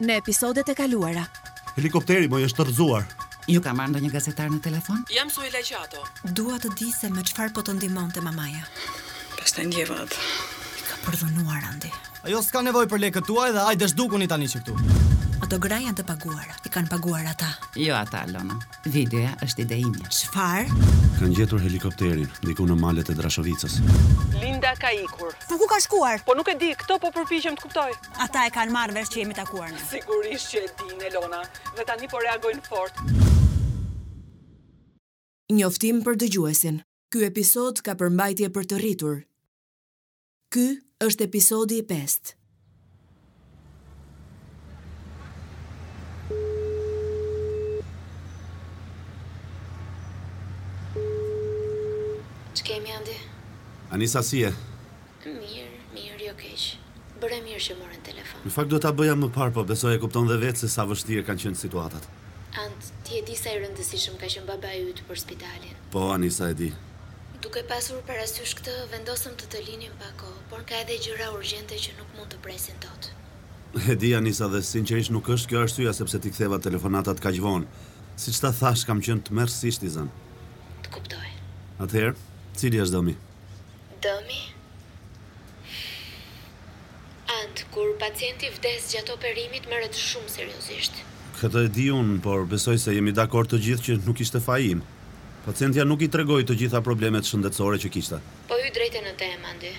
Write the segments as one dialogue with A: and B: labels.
A: në episodet e kaluara.
B: Helikopteri më është tërzuar.
C: Ju ka marrë ndonjë gazetar në telefon?
D: Jam Suela Qato.
A: Dua të di se me çfarë po të ndihmonte mamaja.
D: Pastaj ndjeva atë.
A: Ka përdhunuar Andi.
E: Ajo s'ka nevoj për lekët tuaj dhe ajde shdukuni tani që këtu.
A: Ato gra janë të paguara. I kanë paguar ata.
C: Jo ata, Alona. Videoja është ide ime.
A: Çfarë?
B: Kanë gjetur helikopterin diku në malet e Drashovicës.
D: Linda ka ikur.
A: Po ku ka shkuar?
D: Po nuk e di, këto po përpiqem të kuptoj.
A: Ata e kanë marrë vesh që jemi takuar ne.
D: Sigurisht që e din Elona, dhe tani po reagojnë fort.
F: Njoftim për dëgjuesin. Ky episod ka përmbajtje për të rritur. Ky është episodi i 5.
G: Që kemi andi?
B: Anisa si e?
G: Mirë, mirë, jo keq. Bëre mirë që morën telefon.
B: Në fakt do ta bëja më parë, po besoj e kupton dhe vetë se sa vështirë kanë qenë situatat.
G: Ant, ti e di sa i rëndësishëm ka qenë baba yt për spitalin.
B: Po Anisa e di.
G: Duke pasur parasysh këtë, vendosëm të të linim pa kohë, por ka edhe gjëra urgjente që nuk mund të presin dot.
B: E di Anisa dhe sinqerisht nuk është kjo arsyeja sepse ti ktheva telefonatat kaq vonë. Siç ta thash, kam qenë tmerrsisht i zënë.
G: Të kuptoj.
B: Atëherë, cili është dëmi?
G: Dëmi? Ant, kur pacienti vdes gjatë operimit merret shumë seriozisht.
B: Këtë e di unë, por besoj se jemi dakord të gjithë që nuk ishte faji im. Pacientja nuk i tregoi të gjitha problemet shëndetësore që kishte.
G: Po hy drejtë në temë, Andi.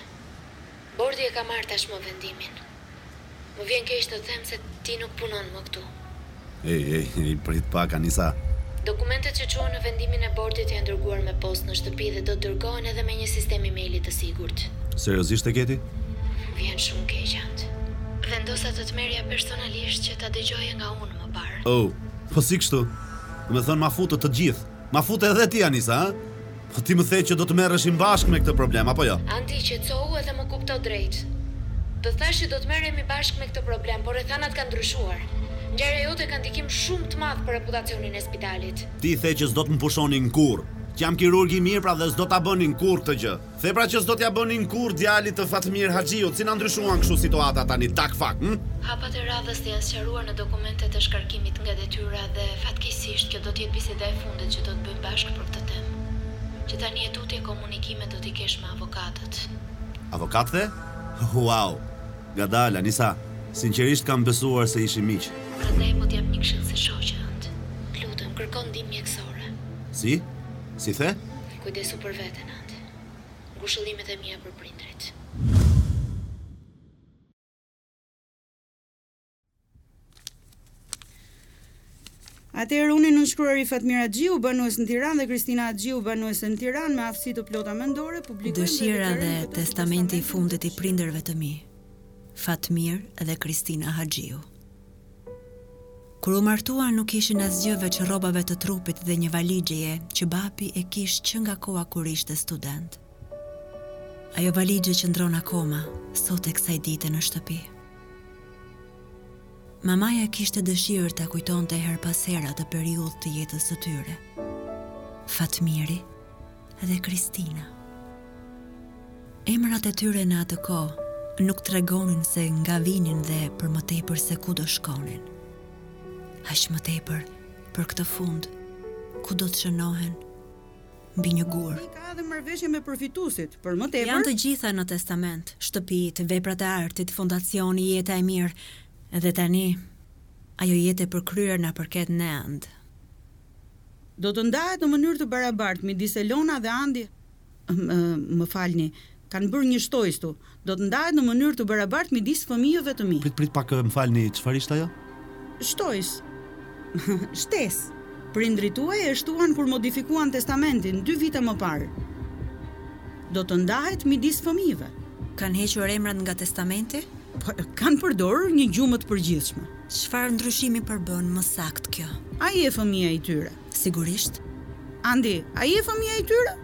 G: Bordi e ka marrë tashmë vendimin. Më vjen keq të them se ti nuk punon më këtu.
B: Ej, ej, ej, prit pak Anisa.
G: Dokumentet që quhen në vendimin e bordit janë dërguar me postë në shtëpi dhe do të dërgohen edhe me një sistem emaili të sigurt.
B: Seriozisht e keti?
G: Më Vjen shumë keq ant. Vendosa të të merja personalisht që ta dëgjoje nga unë më parë.
B: Oh, po si kështu? Do me thënë ma futët të gjithë. Ma futë edhe ti Anisa, ha? Po ti më the që do të merreshim bashkë me këtë problem, apo jo?
G: Andi që cohu edhe më kupto drejt. Do thashë do të merremi bashkë me këtë problem, por rrethanat kanë ndryshuar. Ngjarja jote ka ndikim shumë të madh për reputacionin e spitalit.
B: Ti the që s'do të më pushonin kur. Që jam kirurg i mirë pra dhe s'do ta bënin kur këtë gjë. The pra që s'do t'ja bënin kur djalit të Fatmir Haxhiut, si na ndryshuan kështu situata tani tak fak, hm?
G: Hapat e radhës janë sqaruar në dokumentet e shkarkimit nga detyra dhe fatkeqësisht kjo do të jetë biseda e fundit që do të bëjmë bashkë për këtë temë. Që tani e tutje komunikime do t'i kesh me avokatët.
B: Avokatëve? Wow. Gadala, Nisa. Sinqerisht kam besuar se ishi miq.
G: Prandaj po t'jap një këshill si shoqe ant. Lutem, kërkon ndihmë mjekësore.
B: Si? Si the?
G: Kujdesu për veten ant. Ngushëllimet e mia për prindrit.
H: Atëherë unë në shkruari Fatmira Xhiu, banuese në Tiranë dhe Kristina Xhiu, banuese në Tiranë me aftësi të plota mendore, publikojnë
A: Dëshira dhe testamenti i fundit i prindërve të mi. Fatmir dhe Kristina Haxhiu. Kur u martua nuk ishin asgjë veç rrobave të trupit dhe një valigjeje që bapi e kish që nga koha kur ishte student. Ajo valigje që ndron akoma, sot e kësaj dite në shtëpi. Mamaja kishte dëshirë ta kujtonte her pas here atë periudhë të jetës së tyre. Fatmiri dhe Kristina. Emrat e tyre në atë kohë nuk tregonin se nga vinin dhe për më tepër se ku do shkonin aq më tepër për këtë fund, ku do të shënohen mbi një gur.
H: Ka edhe marrëveshje me përfituesit, për më
A: Janë
H: tepër.
A: të gjitha në testament, shtëpitë, veprat e artit, fondacioni, jeta e mirë, dhe tani ajo jetë e përkryer na përket në and.
H: Do të ndahet në mënyrë të barabartë midis Elona dhe Andi. Më, më falni, kanë bërë një shtojës tu. Do të ndahet në mënyrë të barabartë midis fëmijëve të mi.
B: Prit prit pak më falni, çfarë ishte ajo?
H: Shtojës. Shtesë. Prindrit tuaj e shtuan kur modifikuan testamentin 2 vite më parë. Do të ndahet midis fëmijëve.
A: Kanë hequr emrat nga testamenti?
H: Po, Kanë përdorur një gjumë të përgjithshme.
A: Çfarë ndryshimi përbën më sakt kjo?
H: Ai e fëmia i tyre.
A: Sigurisht,
H: Andi, ai e fëmia i tyre?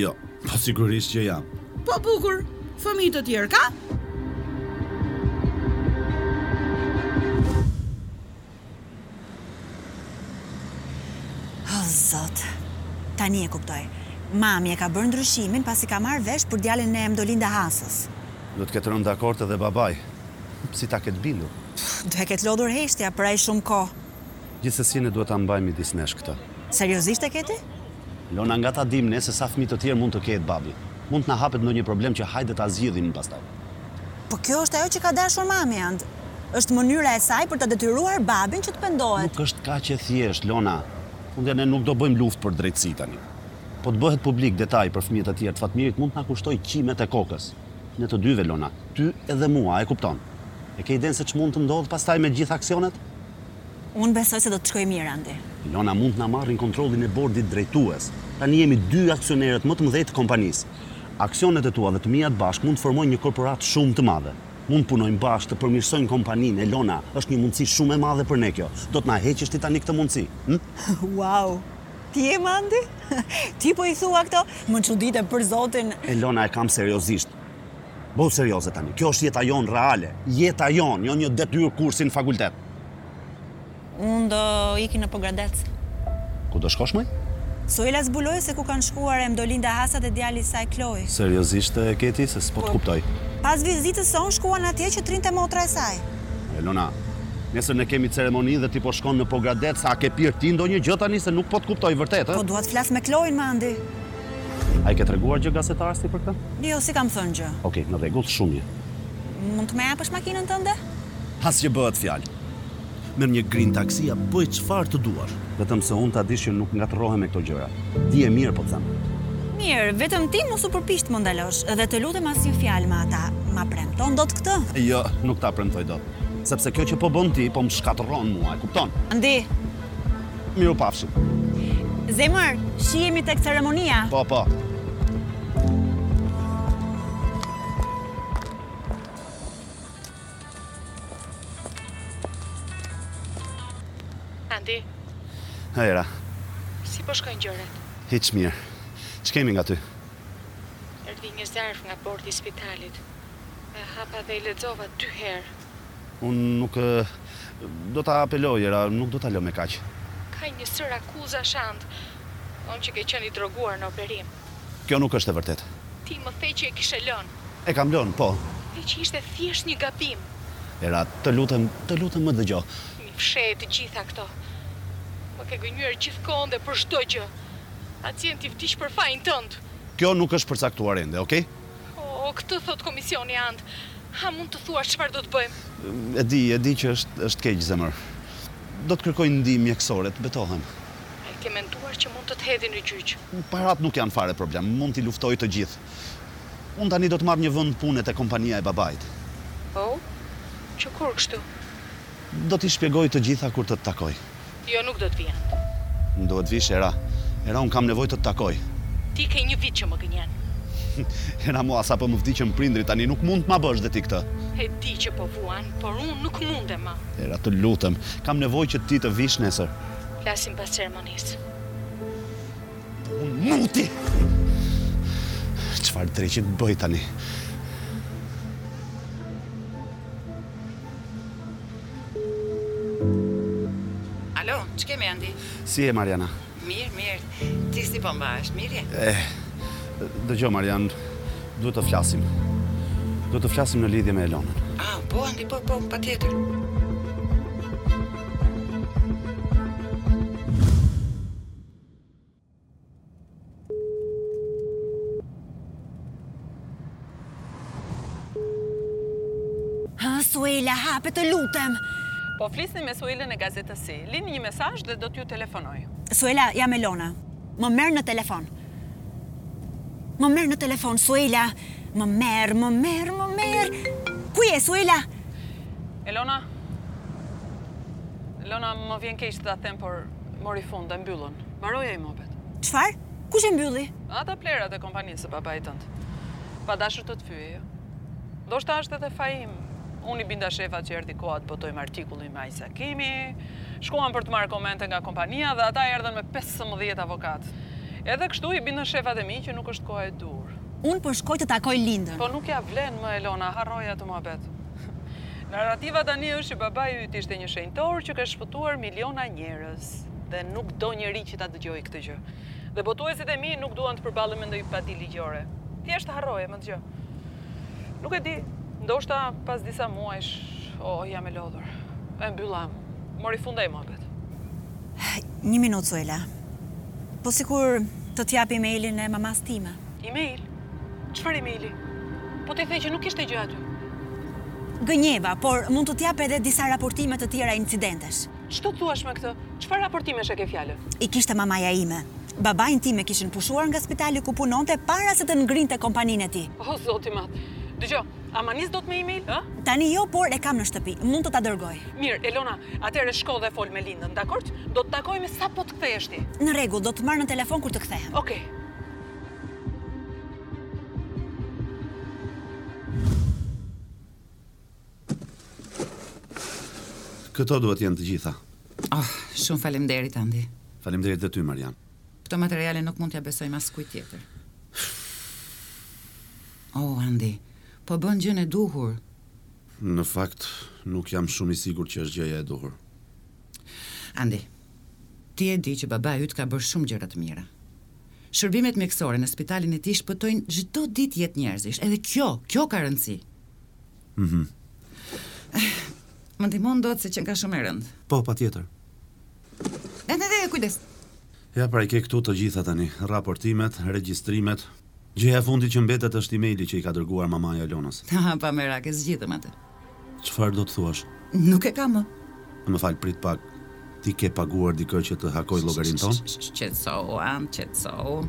B: Jo, po sigurisht që jam.
H: Po bukur, fëmijë të tjerë ka?
I: O zot. Tani e kuptoj. Mami e ka bërë ndryshimin pasi ka marrë vesh për djalin e Emdolinda Hasës.
B: Do të ketë rënë dakord edhe babaj. Si ta ketë bindur?
A: Do e ketë lodhur heshtja për ai shumë kohë.
B: Gjithsesi ne duhet ta mbajmë midis nesh këtë.
A: Seriozisht e keti?
B: Lona nga ta dim ne se sa fëmijë të tjerë mund të ketë babi. Mund të na hapet ndonjë problem që hajde ta zgjidhim pastaj.
A: Po kjo është ajo që ka dashur mami and. Është mënyra e saj për ta detyruar babin që të pendohet.
B: Nuk është kaq e thjesht, Lona. Fundja ne nuk do bëjmë luftë për drejtësi tani. Po të bëhet publik detaj për fëmijët e tjerë të Fatmirit mund të na kushtoj qimet e kokës. Ne të dyve, Lona, ty edhe mua, e kupton. E ke idenë se ç'mund të ndodh pastaj me gjithë aksionet?
A: Unë besoj se do të shkojë mirë Andi.
B: Lona mund të na marrin kontrollin e bordit drejtues. Tani jemi dy aksionerët më të mëdhenj të kompanisë. Aksionet e tua dhe të mia të bashkë mund të formojnë një korporat shumë të madhe. Mund të punojmë bashkë, të përmirësojmë kompaninë. e Lona, është një mundësi shumë e madhe për ne kjo. Do të na heqësh ti tani këtë mundësi, hm?
A: Wow. Ti je mandi? Ti po i thua këto? Më çudite për Zotin.
B: Elona e kam seriozisht. Bëhu serioze tani, kjo është jeta jonë reale, jeta jonë, jo një detyrë kursi në fakultet.
A: Unë do iki në Pogradec.
B: Ku do shkosh më?
A: Soila zbuloi se ku kanë shkuar Emdolinda Hasa dhe djali i saj Kloj.
B: Seriozisht e keti, se s'po të kuptoj.
A: Pas vizitës son shkuan atje që trinte motra e saj.
B: Elona, nesër ne kemi ceremoni dhe ti po shkon në Pogradet, sa ke pirë ti ndonjë gjë tani se nuk po të kuptoj vërtet,
A: Po
B: ë?
A: dua të flas me Klojin Mandi.
B: Ai ke treguar gjë gazetarës ti për këtë?
A: Jo, si kam thënë gjë.
B: Okej, në rregull, shumë mirë.
A: Mund të më japësh makinën tënde?
B: As që bëhet fjalë. Merë një grin taksia, bëj çfarë të duash. Vetëm se unë ta dish që nuk ngatrohem me këto gjëra. Di e mirë po të them.
A: Mirë, vetëm ti mos u përpiq të më ndalosh dhe të lutem asnjë fjalë me ata. Ma premton dot këtë.
B: Jo, nuk ta premtoj dot. Sepse kjo që po bën ti po më shkatërron mua, e kupton?
A: Andi,
B: Miru pafshim.
A: zemër, shihemi tek ceremonia.
B: Po, po.
D: Andi,
B: Hajra,
D: si po shkojnë gjërat?
B: hiç mirë. Ç'kemi nga ty?
D: Erdhi një zarf nga bordi i spitalit. E hapa dhe i lexova dy herë.
B: Unë nuk e, do ta apeloj, era, nuk do ta lë me kaq.
D: Ka një sër akuza shand. Onë që ke qenë i droguar në operim.
B: Kjo nuk është e vërtetë.
D: Ti më the që e kishe lënë,
B: E kam lënë, po.
D: dhe që ishte thjesht një gabim.
B: Era, të lutem, të lutem më dëgjoj.
D: Mi fshej të gjitha këto. Më ke gënjur gjithkohon dhe për çdo gjë. Pacient i vdiq për fajin tënd.
B: Kjo nuk është përcaktuar ende, okay?
D: O, këtë thot komisioni and. Ha mund të thuash çfarë do të bëjmë?
B: E di, e di që është është keq zemër. Do të kërkoj ndihmë mjekësore, të betohem.
D: Ai ke menduar që mund të të hedhin në gjyq.
B: Parat nuk janë fare problem, mund t'i luftoj të gjithë. Unë tani do të marr një vend pune te kompania e babait.
D: Po? Që kur kështu?
B: Do t'i shpjegoj të gjitha kur të të takoj.
D: Jo nuk do të vjen.
B: Më duhet vish era. Era un kam nevojë të të takoj.
D: Ti ke një vit që më gënjen.
B: Era mua sapo më vdiqën prindrit tani nuk mund të ma bësh dhe ti këtë.
D: E di që po vuan, por unë nuk mundem më.
B: Era të lutem, kam nevojë që ti të vish nesër.
D: Flasim pas ceremonisë.
B: Un muti. Çfarë drejtë të bëj tani?
J: Alo, që kemi Andi?
B: Si je Mariana?
J: Mirë, mirë. Ti si po mbash, mirë je?
B: Dëgjoj Marian, duhet të flasim. Duhet të flasim në lidhje me Elonën.
J: Ah, po Andi, po, po, pa tjetër.
A: Ha, Suela, hape të lutem.
D: Po flisni me Suelën e gazetës si. Lini një mesazh dhe do t'ju telefonoj.
A: Suela, jam Elona. Më merë në telefon. Më merë në telefon, Suela. Më merë, më merë, më merë. Ku je, Suela?
D: Elona? Elona, më vjen keq të ta them, por mori fund dhe mbyllën. Mbaroja i mobet.
A: Qfar? Kush e mbylli?
D: Ata plerat e kompanisë së babait tënd. Pa dashur të të fyje jo. Do shta është edhe fajim. Unë i binda shefa që erdi koha të botojmë artikullin me Ajsa Kimi, shkuan për të marrë komente nga kompania dhe ata erdhen me 15 avokat. Edhe kështu i binda shefat e mi që nuk është koha e dur.
A: Unë po shkoj të takoj Lindën.
D: Po nuk ja vlen më Elona, harroja të mua betë. Narrativa tani është që babai yt ishte një shenjtor që ka shpëtuar miliona njerëz dhe nuk do njeri që ta dëgjojë këtë gjë. Dhe botuesit e mi nuk duan të përballen me ndonjë pati ligjore. Thjesht harroje më dëgjoj. Nuk e di, ndoshta pas disa muajsh, oh, jam e lodhur. E mbyllam. Mori fundej më betë.
I: Një minutë, Suela. Po sikur të t'jap emailin e mamas time.
D: Email? Qëfar emaili? Po ti the që nuk ishte gjë aty.
I: Gënjeva, por mund të t'jap edhe disa raportime të tjera incidentesh.
D: Ç'to thuash me këtë? Çfarë raportimesh e ke fjalë?
I: I kishte mamaja ime. Babajnë time kishin pushuar nga spitali ku punonte para se të ngrinte kompaninë e tij.
D: O zoti mat. Dgjoj, ama nis dot me email, ë?
I: Tani jo, por e kam në shtëpi. Mund të ta dërgoj.
D: Mirë, Elona, atëherë shko dhe fol me Lindën, dakord? Do të takojmë sapo po të kthehesh ti.
I: Në rregull, do të marr në telefon kur të kthehem.
D: Okej.
B: Këto duhet jenë të gjitha.
J: Oh, shumë faleminderit Andi.
B: Faleminderit dhe ty Marian.
J: Këto materiale nuk mund t'ja besoj mas kujt tjetër. Oh, Andi, po bën gjën e duhur.
B: Në fakt, nuk jam shumë i sigurt që është gjëja e duhur.
J: Andi, ti e di që baba yt ka bërë shumë gjëra të mira. Shërbimet mjekësore në spitalin e tij shpëtojnë çdo ditë jetë njerëzish, edhe kjo, kjo ka rëndësi.
B: Mhm.
J: Më ndihmon dot se që nga shumë e rëndë.
B: Po, patjetër.
J: E, e, e, kujdes.
B: Ja pra i ke këtu të gjitha tani, raportimet, regjistrimet. Gjëja e fundit që mbetet është emaili që i ka dërguar mamaja Elonës.
J: Ha, pa merak, e zgjidhëm atë.
B: Çfarë do të thuash?
J: Nuk e kam më.
B: Më fal, prit pak. Ti ke paguar dikë që të hakoj llogarin ton?
J: Qetëso, am, qetëso.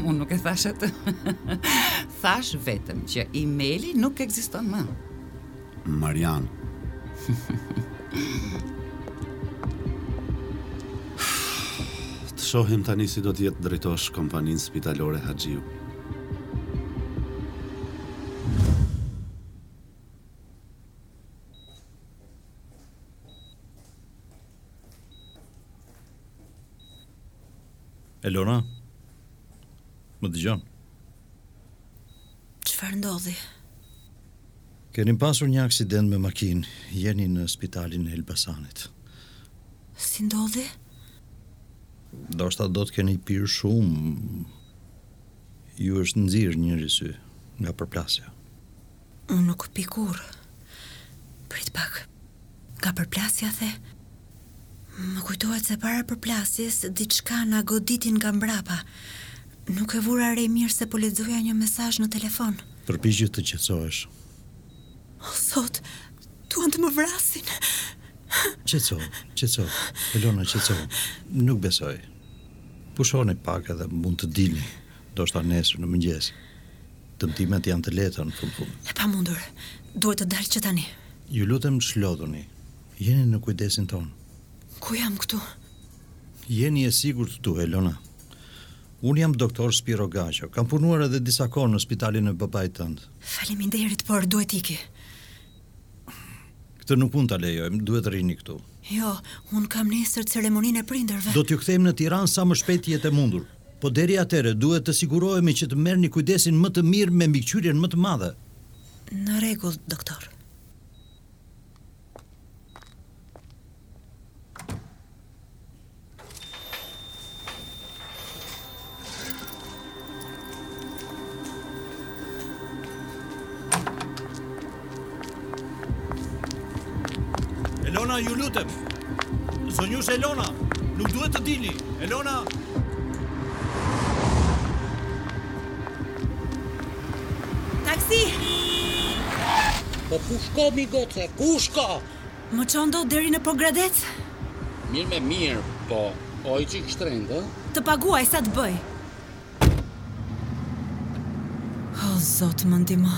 J: Unë nuk e thash atë. thash vetëm që emaili nuk ekziston më.
B: Marian. të shohim tani si do të jetë drejtosh kompaninë spitalore Haxhiu.
K: Elona, më dëgjon.
A: Çfarë ndodhi?
K: Keni pasur një aksident me makinë, jeni në spitalin e Elbasanit.
A: Si ndodhi?
K: Do shta do të keni pirë shumë, ju është nëzirë një rrisy nga përplasja.
A: Unë nuk pi kur. Prit pak. Ka përplasja the. Më kujtohet se para përplasjes diçka na goditin nga mbrapa. Nuk e vura re mirë se po lexoja një mesazh në telefon.
K: Përpiqje të qetësohesh.
A: O zot, duan të më vrasin.
K: Qetëso, qetëso. Elona, qetëso. Nuk besoj. Pushoni pak edhe mund të dilni. Do shta nesër në mëngjes. Dëmtimet janë të leta në fund fund.
A: E pamundur. Duhet të dal që tani.
K: Ju lutem shlodhuni. Jeni në kujdesin tonë.
A: Ku jam këtu?
K: Jeni e sigurt tu, Elona. Unë jam doktor Spiro Gacho. Kam punuar edhe disa kohë në spitalin e babait tënd.
A: Faleminderit, por duhet iki.
K: Këtë nuk mund ta lejojmë, duhet rrini këtu.
A: Jo, un kam nesër ceremoninë e prindërve.
K: Do t'ju kthejmë në Tiranë sa më shpejt jetë e mundur. Po deri atëherë duhet të sigurohemi që të merrni kujdesin më të mirë me mbikëqyrjen më të madhe.
A: Në rregull, doktor.
K: Elona, ju lutem. Zonjush Elona, nuk duhet të dini. Elona,
I: Taksi!
L: Po ku shko mi goce, ku shko?
A: Më çon dot deri në Pogradec?
L: Mirë me mirë, po, o i qik shtrend, ë?
A: Të paguaj sa të bëj. O zot, më ndihmo.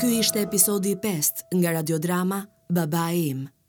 F: Ky ishte episodi i 5 nga radiodrama Babai im.